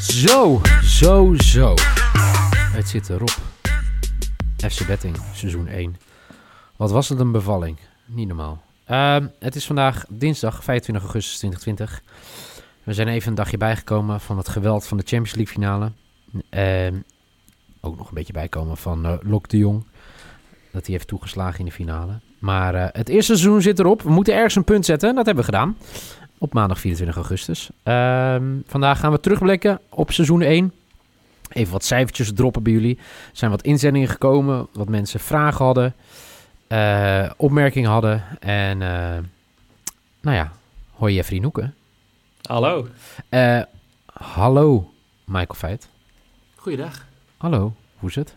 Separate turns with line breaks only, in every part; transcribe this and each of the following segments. Zo, zo, zo. Het zit erop. FC Betting, seizoen 1. Wat was het een bevalling? Niet normaal. Ehm, het is vandaag dinsdag 25 augustus 2020. We zijn even een dagje bijgekomen van het geweld van de Champions League finale. Ehm, ook nog een beetje bijkomen van eh Lok de Jong. Dat hij heeft toegeslagen in de finale. Maar eh, het eerste seizoen zit erop. We moeten ergens een punt zetten. Dat hebben we gedaan. Op maandag 24 augustus. Ehm, vandaag gaan we terugblikken op seizoen 1. Even wat cijfertjes droppen bij jullie. Er zijn wat inzendingen gekomen. Wat mensen vragen hadden. eh, opmerkingen hadden. En eh, nou ja, hoi Jeffrey Noeken.
Hallo.
Eh, hallo Michael Feit.
Goeiedag.
Hallo, hoe is het?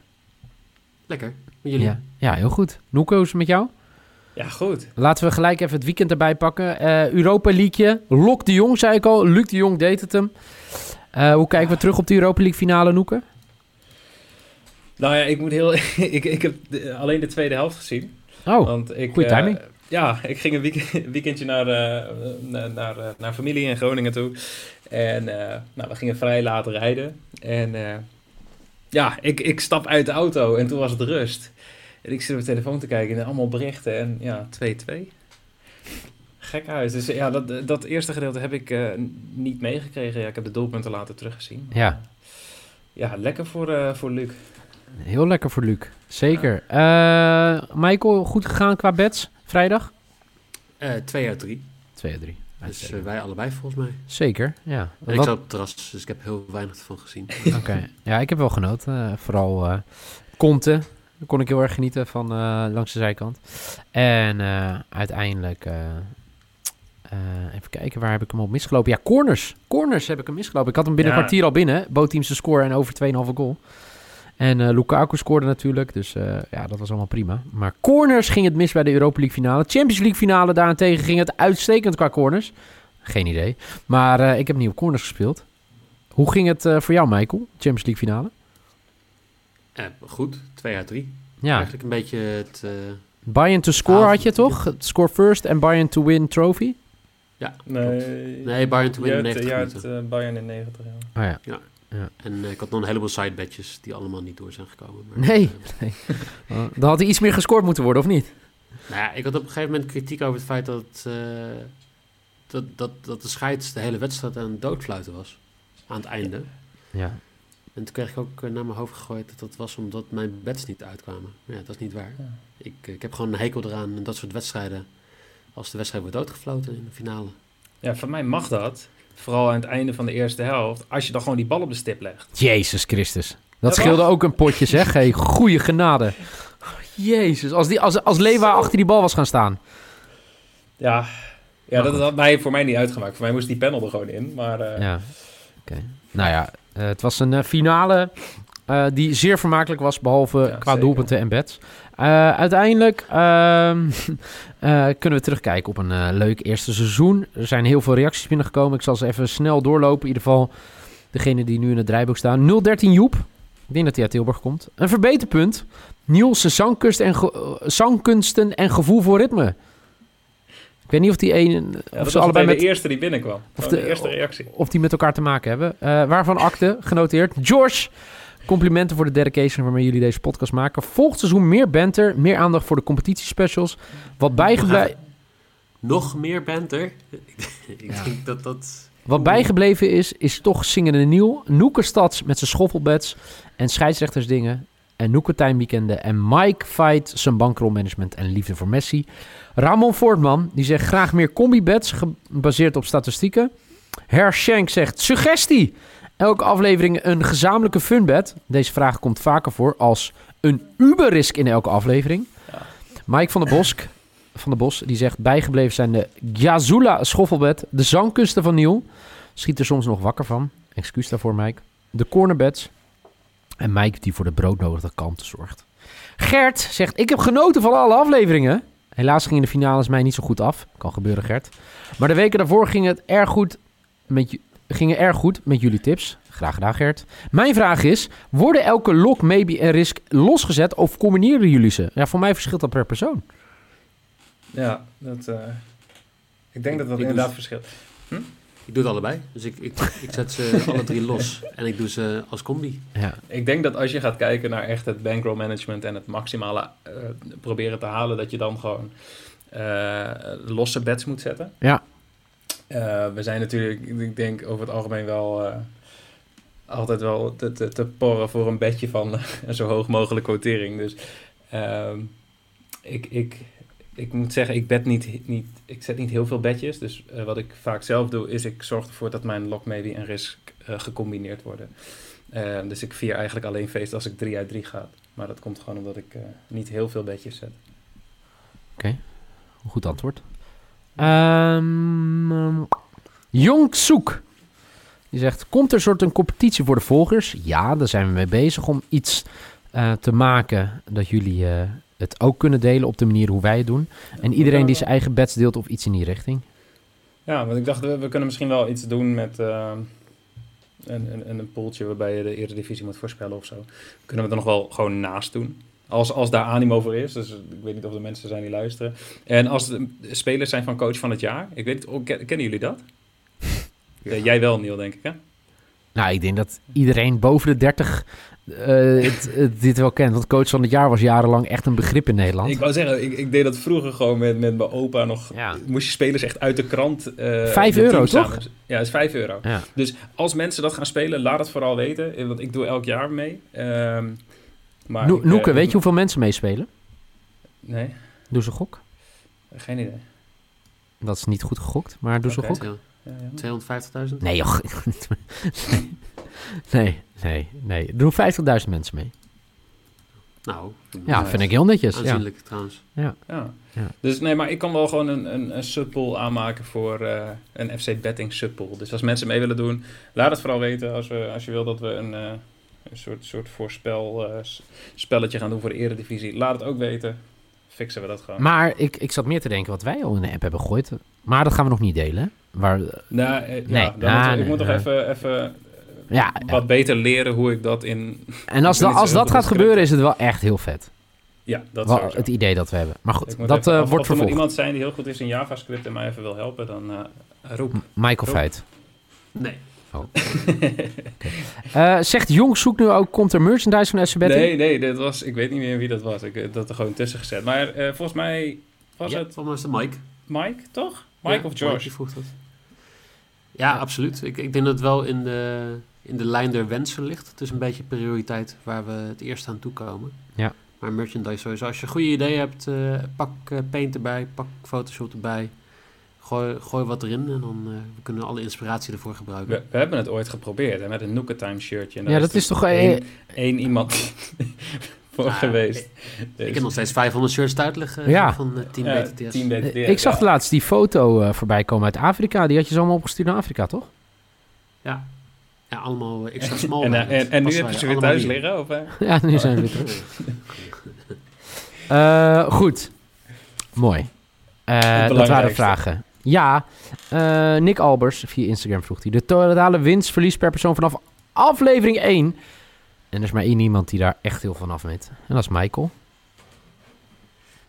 Lekker. Met jullie?
Ja, ja, heel goed. Noeko, hoe is het met jou?
Ja, goed.
Laten we gelijk even het weekend erbij pakken. Eh, Europa League. Lok de Jong, zei ik al. Luc de Jong deed het hem. Eh, hoe kijken we terug op de Europa League finale, Noeke?
Nou ja, ik moet heel... ik, ik heb de- alleen de tweede helft gezien.
Oh,
want ik,
goeie
eh,
timing.
ja, ik ging een week- weekendje naar, eh, naar, naar, eh, naar familie in Groningen toe. En eh, nou, we gingen vrij laat rijden. En eh, ja, ik, ik stap uit de auto en toen was het rust. En ik zit op mijn telefoon te kijken en allemaal berichten. En ja, 2-2. Gek uit. Dus ja, dat, dat eerste gedeelte heb ik eh, niet meegekregen. Ja, ik heb de doelpunten later teruggezien.
Ja.
Ja, lekker voor, eh, voor Luc.
heel lekker voor Luc. Zeker. Eh, Michael, goed gegaan qua bets vrijdag?
Eh, twee uit drie.
2 3.
Dus eh, wij allebei volgens mij.
Zeker, ja.
En ik
Wat-
zat op het terras, dus ik heb heel weinig van gezien.
Oké, ja, ik heb wel genoten. Eh, vooral eh Conte. Daar kon ik heel erg genieten van eh, langs de zijkant. En eh, uiteindelijk... eh, eh, even kijken, waar heb ik hem op misgelopen? Ja, corners. Corners heb ik hem misgelopen. Ik had hem binnen een
Ja.
kwartier al binnen. Bootteams de score en over 2,5 goal. En eh, Lukaku scoorde natuurlijk, dus eh, ja, dat was allemaal prima. Maar corners ging het mis bij de Europa League finale. Champions League finale daarentegen ging het uitstekend qua corners. Geen idee. Maar eh, ik heb niet op corners gespeeld. Hoe ging het eh, voor jou, Michael? Champions League finale?
Eh, goed, twee uit drie.
Ja,
Eigenlijk een beetje het... eh,
Bayern to score
Ah,
had je
goed.
toch? Score first en Bayern to win trophy?
Nee,
Nee, Bayern te winnen in
Juist-
90
juist,
minuten.
eh, Bayern in 90, ja.
Oh ja.
En eh, ik had nog een heleboel sidebadges die allemaal niet door zijn gekomen. Maar,
Nee.
eh,
Eh, Dan had hij iets meer gescoord moeten worden, of niet?
nou ja, ik had op een gegeven moment kritiek over het feit dat, eh, dat, dat, dat de scheids de hele wedstrijd aan het doodfluiten was. Aan het einde.
Ja.
En toen kreeg ik ook eh, naar mijn hoofd gegooid dat dat was omdat mijn bets niet uitkwamen. Maar ja, dat is niet waar.
Ja.
Ik, eh, ik heb gewoon een hekel eraan en dat soort wedstrijden. Als de wedstrijd wordt doodgefloten in de finale.
Ja, van mij mag dat. Vooral aan het einde van de eerste helft. Als je dan gewoon die bal op de stip legt.
Jezus Christus. Dat
Ja,
scheelde ook een potje, zeg. Hey, goeie genade. Jezus, als, die, als, als Lewa achter die bal was gaan staan.
Ja, ja
Nou,
dat
goed.
had mij, voor mij niet uitgemaakt. Voor mij moest die panel er gewoon in. Maar eh,
Ja, oké. Nou ja, eh, het was een eh, finale eh, die zeer vermakelijk was, behalve
Ja,
qua
zeker.
doelpunten en bets. Eh, uiteindelijk ehm, eh, kunnen we terugkijken op een eh, leuk eerste seizoen. Er zijn heel veel reacties binnengekomen. Ik zal ze even snel doorlopen. In ieder geval degene die nu in het draaiboek staan. 013 Joep. Ik denk dat hij uit Tilburg komt. Een verbeterpunt. Nielse zangkunst en ge- eh, zangkunsten en gevoel voor ritme. Ik weet niet of die een...
ja,
of
dat
ze
was
allebei
allebei
met
de eerste die binnenkwam. Of de,
de-
eerste reactie.
of die met elkaar te maken hebben. Eh, waarvan akte, genoteerd. George, complimenten voor de dedication waarmee jullie deze podcast maken. Volgend seizoen meer banter, meer aandacht voor de competitiespecials. Wat, bijgeble
Nog meer banter. ik
Ja.
denk dat dat...
wat bijgebleven is, is toch zingende Niel. Noeke Stads met zijn schoffelbeds en scheidsrechtersdingen. En Noeke Tuinweekenden. En Mike Fight, zijn bankrollmanagement en liefde voor Messi. Ramon Voortman, die zegt graag meer combi-bets gebaseerd op statistieken. Her Shank zegt suggestie. Elke aflevering een gezamenlijke funbed. Deze vraag komt vaker voor als een Uber-risk in elke aflevering. Mike van der Bosk, van der Bos. Die zegt, bijgebleven zijn de Gyazula schoffelbed, de zangkunsten van Niel. Schiet er soms nog wakker van. Excuus daarvoor, Mike. De cornerbeds. En Mike die voor de broodnodige kalmte zorgt. Gert zegt, ik heb genoten van alle afleveringen. Helaas gingen de finales mij niet zo goed af. Kan gebeuren, Gert. Maar de weken daarvoor ging het erg goed met, ju- gingen erg goed met jullie tips. Graag gedaan, Gert. Mijn vraag is, worden elke lock, maybe en risk losgezet of combineren jullie ze? Ja, voor mij verschilt dat per persoon.
Ja, dat, eh, ik denk dat dat
Ik
inderdaad
dus-
verschilt.
Ik doe het allebei. Dus ik, ik, ik zet ze alle drie los. En ik doe ze als combi.
Ja,
Ik denk dat als je gaat kijken naar echt het bankroll management en het maximale eh, proberen te halen, dat je dan gewoon eh, losse bets moet zetten.
Ja.
Eh, we zijn natuurlijk, ik denk over het algemeen wel eh, altijd wel te, te, te porren voor een bedje van een zo hoog mogelijke quotering. Dus ehm, ik, ik, ik moet zeggen, ik bed niet, niet, ik zet niet heel veel bedjes. Dus eh, wat ik vaak zelf doe, is ik zorg ervoor dat mijn lock maybe en risk eh, gecombineerd worden. Ehm, dus ik vier eigenlijk alleen feest als ik 3 uit 3 ga. Maar dat komt gewoon omdat ik eh, niet heel veel bedjes zet.
een goed antwoord. Ehm ehm, Jong Soek. Die zegt, komt er een soort een competitie voor de volgers? Ja, daar zijn we mee bezig om iets eh, te maken dat jullie eh, het ook kunnen delen op de manier hoe wij het doen. En iedereen die zijn eigen bets deelt of iets in die richting.
Ja, want ik dacht, we, we kunnen misschien wel iets doen met ehm, een, een, een poeltje waarbij je de eredivisie moet voorspellen of zo. Kunnen we er nog wel gewoon naast doen. Als, als daar animo voor is. Dus ik weet niet of er mensen zijn die luisteren. En als de spelers zijn van coach van het jaar. Ik weet het, oh, ken- kennen jullie dat? Ja, jij wel, Niel, denk ik, hè?
Nou, ik denk dat iedereen boven de 30 eh, het- het dit wel kent. Want coach van het jaar was jarenlang echt een begrip in Nederland.
Ik wou zeggen, ik, ik deed dat vroeger gewoon met, met mijn opa nog.
Ja.
Moest je spelers echt uit de krant. eh,
Vijf
de
euro,
teams
toch?
samen- Ja, het is 5 euro.
Ja.
Dus als mensen dat gaan spelen, laat het vooral weten. eh, Want ik doe elk jaar mee. Ehm, maar
No-
ik, eh,
Noeke, weet je hoeveel mensen meespelen?
Nee,
Doe ze gok.
geen idee.
Dat is niet goed gegokt, maar doe ze
Oké.
gok.
Ja,
Ja, ja.
250.000?
Nee, joh. nee, nee, nee. Er doen 50.000 mensen mee.
Nou,
Ja,
Nice.
vind ik heel netjes. Ja.
aanzienlijk trouwens.
Ja.
Ja.
Dus nee, maar ik kan wel gewoon een, een, een subpool aanmaken voor eh, een FC Betting subpool. Dus als mensen mee willen doen, laat het vooral weten. Als, we, als je wil dat we een, eh, een soort, soort voorspel eh, s- spelletje gaan doen voor de eredivisie, laat het ook weten. Fixen we dat gewoon.
Maar ik, ik zat meer te denken wat wij al in de app hebben gegooid. Maar dat gaan we nog niet delen. Maar, eh,
Nou, eh,
Nee.
ja, dan
Ah,
moeten we-
nee,
ik moet toch
ja.
even, even eh,
Ja,
wat beter leren hoe ik dat in...
en als,
Ik ben
da-
niet zo
als
heel
dat
goed
gaat
in
gebeuren, is het wel echt heel vet.
Ja, dat
Wel,
sowieso.
het idee dat we hebben. Maar
Ik
goed,
moet
dat
even-
eh,
of-
wordt
of er moet
vervolgd.
iemand zijn die heel goed is in JavaScript en mij even wil helpen, dan eh, roep.
M- Michael
Oh.
Feit.
Nee.
Eh, zegt Jong zoekt nu ook, komt er merchandise van SC Betting?
Nee, nee, dit was, ik weet niet meer wie dat was. Ik heb dat er gewoon tussen gezet. Maar eh, volgens mij was
Ja,
het
volgens mij is het Mike.
Mike, toch? Mike
Ja,
of George?
die vroeg dat. Ja, absoluut. Ik, ik denk dat het wel in de, in de lijn der wensen ligt. Het is een beetje prioriteit waar we het eerst aan toe komen.
Ja.
Maar merchandise sowieso. Als je goede ideeën hebt, eh, pak eh, paint erbij, pak Photoshop erbij. Gooi, gooi wat erin en dan eh, we kunnen alle inspiratie ervoor gebruiken.
We, we hebben het ooit geprobeerd hè, met een Nookatime shirtje. En daar
ja, dat is
toen
toch... eh,
één, één iemand voor
Nou,
geweest. Dus,
Ik heb nog steeds 500 shirts thuis liggen
Ja.
van eh, Team
Ja,
BTTS.
Team BTTS,
ik zag
ja.
laatst die foto eh, voorbij komen uit Afrika. Die had je ze allemaal opgestuurd naar Afrika, toch?
Ja. ja, allemaal eh, extra small.
En, eh,
waren het.
en, en nu
Passen
heb je
wij
ze weer
allemaal
thuis liggen? Of,
in.
eh?
ja, nu zijn we weer terug. Eh, goed. Mooi. Eh, dat waren
belangrijkste.
vragen. Ja, eh, Nick Albers via Instagram vroeg hij. De totale winst-verlies per persoon vanaf aflevering 1. En er is maar één iemand die daar echt heel van af weet. En dat is Michael.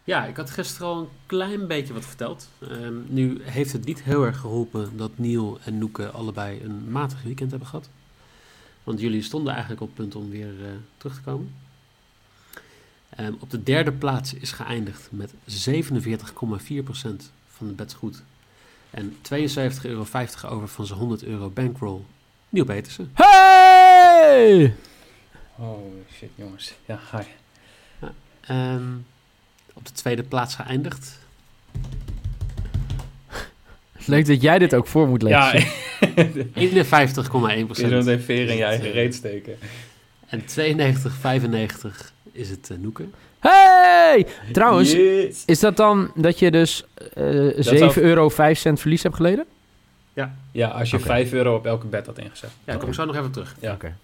Ja, ik had gisteren al een klein beetje wat verteld. Ehm, nu heeft het niet heel erg geholpen dat Neil en Noeke allebei een matig weekend hebben gehad. Want jullie stonden eigenlijk op het punt om weer eh, terug te komen. Ehm, op de derde plaats is geëindigd met 47,4% van de bets goed. En 72,50 euro over van zijn 100 euro bankroll. Nieuw Petersen.
Hey!
Oh shit, jongens. Ja, hi.
Ehm, op de tweede plaats geëindigd.
Leuk dat jij dit ook voor moet lezen.
Ja, je
51,1%.
zult even veren in je eigen reet steken.
En 92,95 is het eh, Noeke.
Hey! Trouwens,
Yes.
is dat dan dat je dus eh 7,05
zou-
euro cent verlies hebt geleden?
Ja, als je
Oké.
5 euro op elke bed had ingezet.
Ja, daar kom ik zo nog even terug.
Ja.
Oké.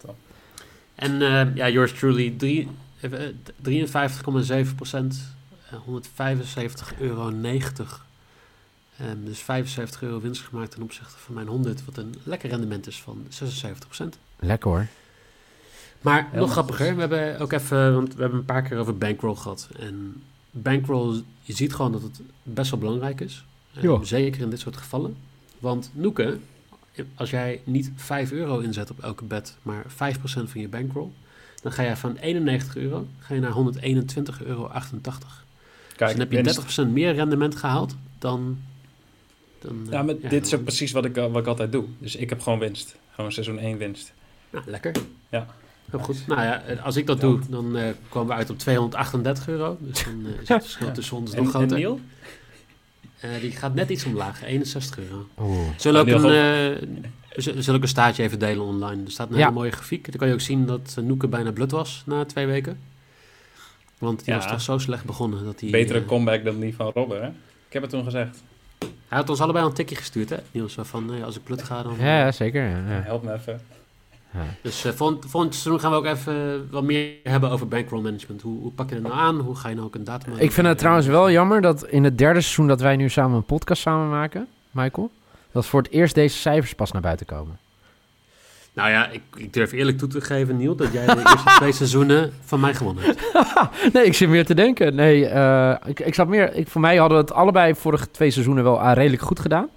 En eh, ja, yours truly, drie- even, eh, d- 53,7 procent, 175,90 euro. Ehm, dus 75 euro winst gemaakt ten opzichte van mijn 100, wat een lekker rendement is van 76 procent.
Lekker hoor.
Maar
Heel
nog
netjes.
grappiger, we hebben ook even, want we hebben een paar keer over bankroll gehad. En bankroll, je ziet gewoon dat het best wel belangrijk is. Eh,
Ja.
Zeker in dit soort gevallen. Want Noeke, als jij niet 5 euro inzet op elke bed, maar 5% van je bankroll, dan ga jij van 91 euro ga je naar 121,88 euro. dus
Kijk,
dan heb je
winst.
30% meer rendement gehaald dan... dan eh,
Ja, maar
ja,
dit is
dan-
ook precies wat ik, eh, wat ik altijd doe. Dus ik heb gewoon winst. Gewoon seizoen 1 winst.
Nou, lekker.
Ja.
Heel goed. Nou ja, eh, als ik dat doe, dan eh, komen we uit op 238 euro. Dus dan eh, is het verschil tussen ons nog
En, en
groter.
Neil?
Eh, die gaat net iets omlaag, 61 euro.
Oeh.
We zullen, ook
Ah,
een,
Neil,
eh, we zullen we zullen ook een staartje even delen online. Er staat een
Ja.
hele mooie grafiek. Dan kan je ook zien dat eh, Noeke bijna blut was na twee weken. Want die
Ja.
was toch zo slecht begonnen dat hij...
Betere
eh,
comeback dan die van Robben, hè? Ik heb het toen gezegd.
hij had ons allebei al een tikje gestuurd, hè? Niels, zo van, eh, als ik blut ga, dan...
Ja, zeker. ja, ja.
Help me even.
Dus eh, volgend, volgend seizoen gaan we ook even eh, wat meer hebben over bankroll management. Hoe, hoe pak je dat nou aan? Hoe ga je nou ook een datum...
Ik vind het trouwens wel jammer dat in het derde seizoen dat wij nu samen een podcast samen maken, Michael, dat voor het eerst deze cijfers pas naar buiten komen.
Nou ja, ik, ik durf eerlijk toe te geven, Niel, dat jij de eerste twee seizoenen van mij gewonnen hebt.
Nee, ik zit meer te denken. Nee, eh, ik, ik zat meer. Ik, voor mij hadden we het allebei vorige twee seizoenen wel ah, redelijk goed gedaan.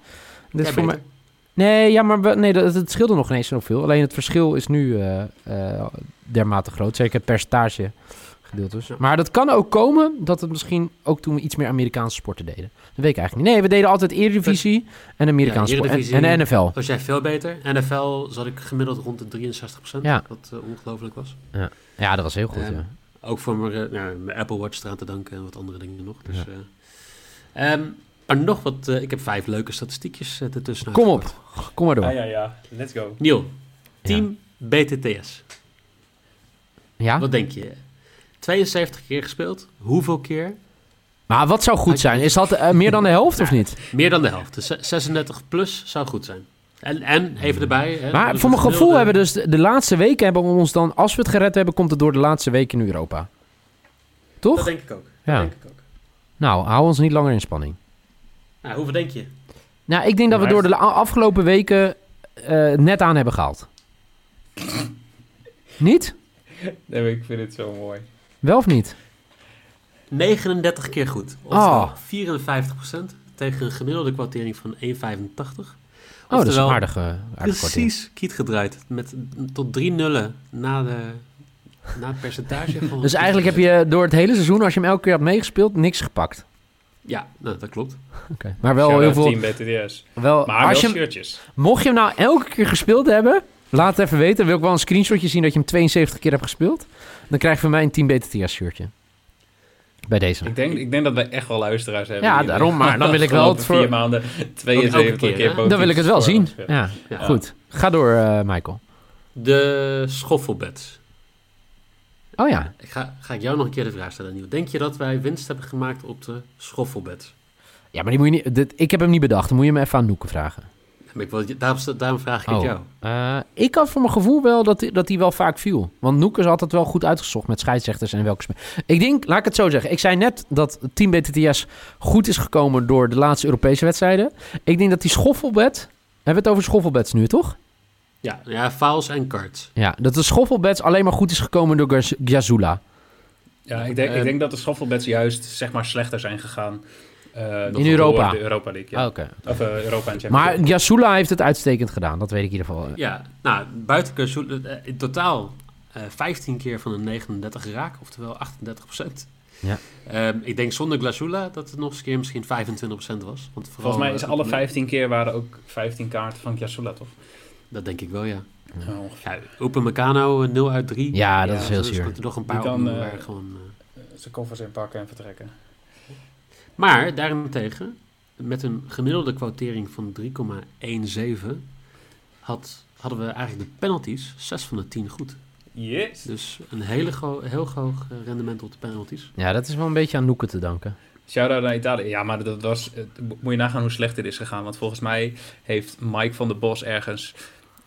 Dus
Jij
voor mij,
beter.
nee, ja, maar we- nee, dat, het scheelde nog ineens zoveel. Alleen het verschil is nu eh, eh, dermate groot. Zeker het percentage gedeeltes.
Ja.
Maar dat kan ook komen dat het misschien ook toen we iets meer Amerikaanse sporten deden. Dat weet ik eigenlijk niet. Nee, we deden altijd Eredivisie en Amerikaanse
Ja,
sport- en,
Eredivisie.
en de NFL.
Was jij veel beter? NFL zat ik gemiddeld rond de 63 procent,
Ja.
wat eh, ongelooflijk was.
Ja, dat was heel goed.
Ehm,
ja.
Ook voor mijn, eh, nou, mijn Apple Watch eraan te danken en wat andere dingen nog. Dus,
Ja.
eh, ehm, maar nog wat, eh, ik heb vijf leuke statistiekjes eh, ertussen.
Kom op.
uitgepakt.
Kom maar door.
Ah ja, ja. Let's go.
Niel, team BTTS.
Ja?
Wat denk je? 72 keer gespeeld. Hoeveel keer?
Maar wat zou goed zijn? Is dat eh, meer dan de helft of niet?
Meer dan de helft. Dus ze- 36 plus zou goed zijn. En, en even erbij. Hè,
Maar
dus
voor mijn
het
gevoel
gemiddelde-
hebben dus de, de laatste weken hebben we ons dan, als we het gered hebben, komt het door de laatste weken in Europa. Toch?
Dat denk ik ook.
Ja.
Ja. Dat denk ik ook.
Nou, hou ons niet langer in spanning.
Nou, hoeveel denk je?
Nou, ik denk dat we
Maar-
door de la- afgelopen weken eh, het net aan hebben gehaald. niet?
Nee, maar ik vind het zo mooi.
Wel of niet?
39 keer goed.
Oh.
Oftewel 54% nou, tegen een gemiddelde kwartering van 1,85.
Oh, dat is een
Oftewel,
aardige, aardige kwartier.
Precies kiet gedraaid. Met tot drie nullen na, de, na het percentage. van
Dus eigenlijk heb je door het hele seizoen, als je hem elke keer had meegespeeld, niks gepakt.
Ja, nou, dat klopt.
Oké. Maar wel heel
Shout-out
veel.
Team BTDS.
Wel,
Maar
als je
wel
hem-
shirtjes.
Mocht je hem nou elke keer gespeeld hebben, laat het even weten. Dan wil ik wel een screenshotje zien dat je hem 72 keer hebt gespeeld. Dan krijg je van mij een Team BTTS shirtje. Bij deze.
Ik denk, ik denk dat wij echt wel luisteraars hebben.
Ja,
die-
daarom, maar dan wil ik wel het
Afgelopen vier
voor-
maanden 72
keer,
keer,
hè?
positief
Dan wil ik het wel
scoren.
zien. Ja,
Ja.
goed. Ga door, eh, Michael.
De schoffelbeds.
Oh ja.
Ik ga, ga ik jou nog een keer de vraag stellen, Nieuw. Denk je dat wij winst hebben gemaakt op de schoffelbeds?
Ja, maar die moet je niet, dit- ik heb hem niet bedacht. Dan moet je hem even aan Noeke vragen.
Maar Ik wil, daarom, daarom vraag ik het
Oh.
jou.
Eh, ik had voor mijn gevoel wel dat, die- dat die wel vaak viel. Want Noeke is altijd wel goed uitgezocht met scheidsrechters en welke... spe- Ik denk, laat ik het zo zeggen. Ik zei net dat Team BTTS goed is gekomen door de laatste Europese wedstrijden. Ik denk dat die schoffelbed... Hebben we het over schoffelbeds nu, toch?
Ja, ja files en cards.
Ja, dat de schoffelbeds alleen maar goed is gekomen door Gaz- Gazula.
Ja, ik denk,
Eh,
ik denk dat de schoffelbeds juist zeg maar slechter zijn gegaan. eh,
In
door
Europa.
De Europa League, ja.
Ah, oké.
Of eh, Europa en Champions
Maar
League.
Gazula heeft het uitstekend gedaan. Dat weet ik in ieder geval.
Ja, nou, buiten Kazoel, eh, in totaal eh 15 keer van de 39 raak, oftewel 38 procent. Ehm,
Ja.
ik denk zonder Glazula dat het nog eens een keer misschien 25 was. Want vooral,
Volgens mij is
eh,
alle 15 keer waren ook 15 kaarten van Kiasula, toch?
Dat denk ik wel, ja.
Ja, ongeveer.
ja Open Meccano eh, 0 uit 3.
Ja, dat is heel
zo
zuur.
Er nog een paar
Die kan,
kan,
eh,
waar gewoon... eh,
Zijn koffers inpakken en vertrekken.
Maar daarentegen, met een gemiddelde kwotering van 3,17 had, hadden we eigenlijk de penalties 6 van de 10 goed.
Yes.
Dus een hele gro- heel hoog eh, rendement op de penalties.
Ja, dat is wel een beetje aan Noeken te danken.
Shout-out naar Italië. Ja, maar dat was... eh, mo- Moet je nagaan hoe slecht dit is gegaan. Want volgens mij heeft Mike van der Bos ergens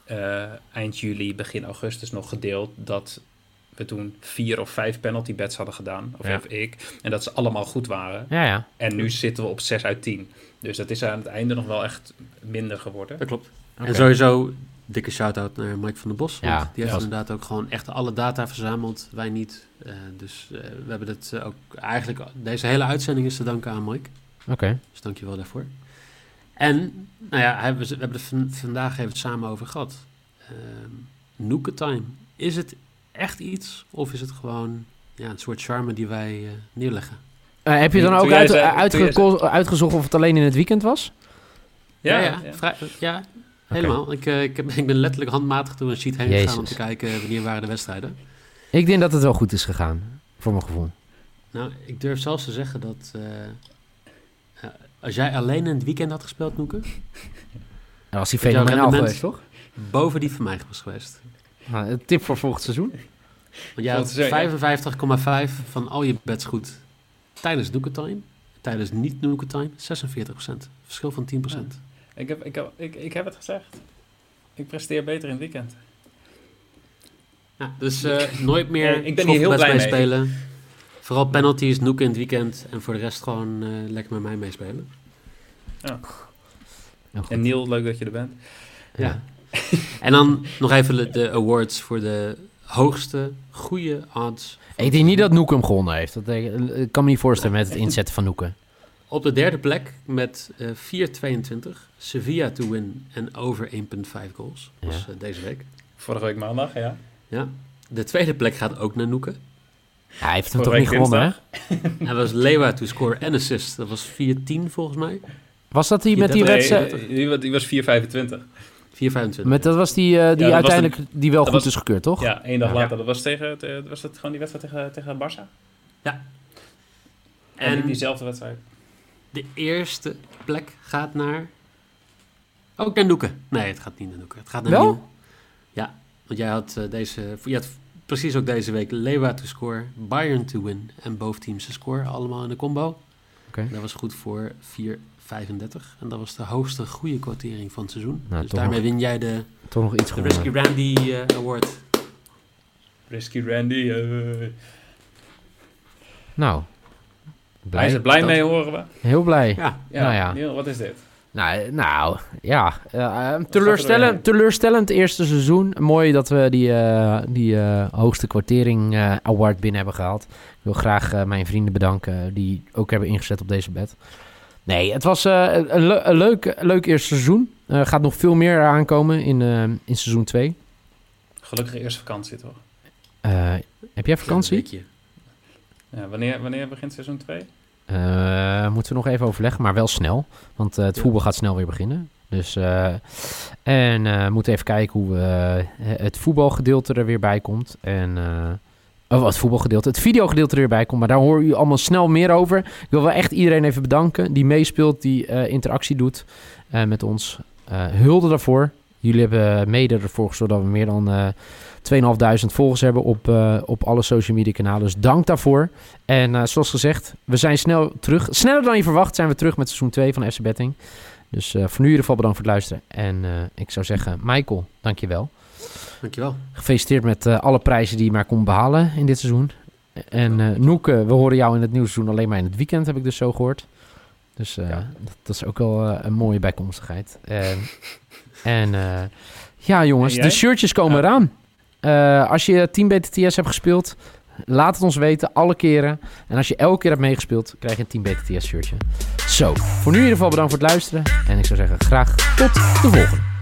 eh, eind juli, begin augustus nog gedeeld... dat we toen vier of vijf penalty bets hadden gedaan. Of
Ja.
heb ik. En dat ze allemaal goed waren.
Ja, ja.
En nu zitten we op 6 uit 10. Dus dat is aan het einde nog wel echt minder geworden.
Dat klopt.
Oké.
En sowieso dikke shout-out naar Mike van der Bos.
Ja,
want die heeft
ja.
inderdaad ook gewoon echt alle data verzameld. Wij niet. Eh, dus eh, we hebben dat eh, ook eigenlijk... Deze hele uitzending is te danken aan Mike.
Oké.
Dus dankjewel daarvoor. En, nou ja, hebben we, we hebben het van- vandaag even het samen over gehad. Ehm Nuka Time. Is het echt iets of is het gewoon ja, een soort charme die wij eh, neerleggen?
Eh, heb je dan
Toen
ook
jij
uit,
zei-
eh, uitgeko-
toen
uitgezocht of het alleen in het weekend was?
Ja,
ja,
ja.
vrij- ja, helemaal. Ik, eh, ik, heb, ik ben letterlijk handmatig door een sheet heen gegaan om
Jezus.
te kijken eh, wanneer waren de wedstrijden.
Ik denk dat het wel goed is gegaan, voor mijn gevoel.
Nou, ik durf zelfs te zeggen dat eh, eh, als jij alleen in het weekend had gespeeld, Noeke,
En was hij
Met jouw
fenomenaal
rendement.
geweest, toch?
boven die van mij was geweest.
Nou, een tip voor volgend seizoen.
Want jij had
Volgens mij,
55,5 van al je bets goed tijdens Noeketime. Tijdens niet Noeketime 46%. Verschil van 10%.
Ik, heb, ik, heb, ik, ik heb het gezegd. Ik presteer beter in het weekend.
Ja, dus eh, nooit meer
Eh, ik ben hier heel
schoffelbest
blij mee.
spelen. Vooral penalties, Noeken in het weekend. En voor de rest gewoon eh, lekker met mij meespelen.
Nou, goed.
En Niel, leuk dat je er bent.
Ja. En dan nog even de- de awards voor de hoogste goede odds.
Ik denk niet dat Noeken hem gewonnen heeft. Dat denk ik, ik kan me niet voorstellen met het inzetten van Noeken.
Op de derde plek met eh 4,22. Sevilla to win en over 1,5 goals. Dat was
Ja.
eh, deze week.
Vorige week maandag, ja.
De tweede plek gaat ook naar Noeken.
Ja, hij heeft hem
Vorige
toch niet
week
gewonnen, hè?
Hij was Lewa to score en assist. Dat was 4-10 volgens mij. 4-25.
Was dat die
Je
met die
deed-
wedstrijd?
Nee, die, wa- die was 4,25.
Met, dat was die, eh, die
dat was
uiteindelijk die wel
dat
goed
was-
is gekeurd, toch?
Ja, één dag
Ja.
later. Dat was, tegen, het, eh, was dat gewoon die wedstrijd tegen, tegen Barça? En niet
En
diezelfde wedstrijd.
de eerste plek gaat naar... Ook naar Noeken. Nee, het gaat niet naar Noeken. Het gaat naar
Wel?
Nieuw. Ja, want jij had, eh, deze, je had precies ook deze week Lewa to score, Bayern to win en both teams to score. Allemaal in de combo.
Oké.
Dat was goed voor 4,35. En dat was de hoogste goede kwartering van het seizoen.
Nou,
dus
toch
daarmee
nog-
win jij de,
Toch nog iets
de
gewonnen.
Risky Randy eh, Award.
Risky Randy. eh.
Nou,
Hij is
blij.
er blij
Dat-
mee, horen we.
Heel blij.
Ja,
Ja,
Nou ja.
Niel, wat is dit?
Nou, nou ja. eh, eh,
er doorheen?
teleurstellend, teleurstellend eerste seizoen. Mooi dat we die, eh, die eh, hoogste kwartering eh, award binnen hebben gehaald. Ik wil graag eh, mijn vrienden bedanken die ook hebben ingezet op deze bed. Nee, het was eh, een, le- een leuk, leuk eerste seizoen. Er gaat nog veel meer aankomen in, eh, in seizoen 2.
Gelukkige eerste vakantie, toch?
Eh, heb jij vakantie?
Leuk je.
Ja, wanneer, wanneer begint seizoen 2?
Eh, moeten we nog even overleggen, maar wel snel. Want eh, het
Ja.
voetbal gaat snel weer beginnen. Dus, eh, en eh, we moeten even kijken hoe eh, het voetbalgedeelte er weer bij komt. En, eh, oh, het voetbalgedeelte, het videogedeelte er weer bij komt. Maar daar hoor u allemaal snel meer over. Ik wil wel echt iedereen even bedanken die meespeelt, die eh, interactie doet eh, met ons. Eh, hulde daarvoor. Jullie hebben mede ervoor gezorgd dat we meer dan eh 2.500 volgers hebben op, eh, op alle social media kanalen. Dus dank daarvoor. En eh, zoals gezegd, we zijn snel terug. Sneller dan je verwacht zijn we terug met seizoen 2 van FC Betting. Dus eh, voor nu in ieder geval bedankt voor het luisteren. En eh, ik zou zeggen, Michael, dankjewel.
Dankjewel.
Gefeliciteerd met eh, alle prijzen die je maar kon behalen in dit seizoen. En eh Noeke, we horen jou in het nieuwe seizoen alleen maar in het weekend, heb ik dus zo gehoord. Dus eh,
Ja.
dat, dat is ook wel eh, een mooie bijkomstigheid. En, en eh, ja, jongens,
En
de
jij?
shirtjes komen
Ja.
eraan. Eh, als je Team BTTS hebt gespeeld, laat het ons weten, alle keren. En als je elke keer hebt meegespeeld, krijg je een Team BTTS shirtje. Zo, voor nu in ieder geval bedankt voor het luisteren. En ik zou zeggen, graag tot de volgende.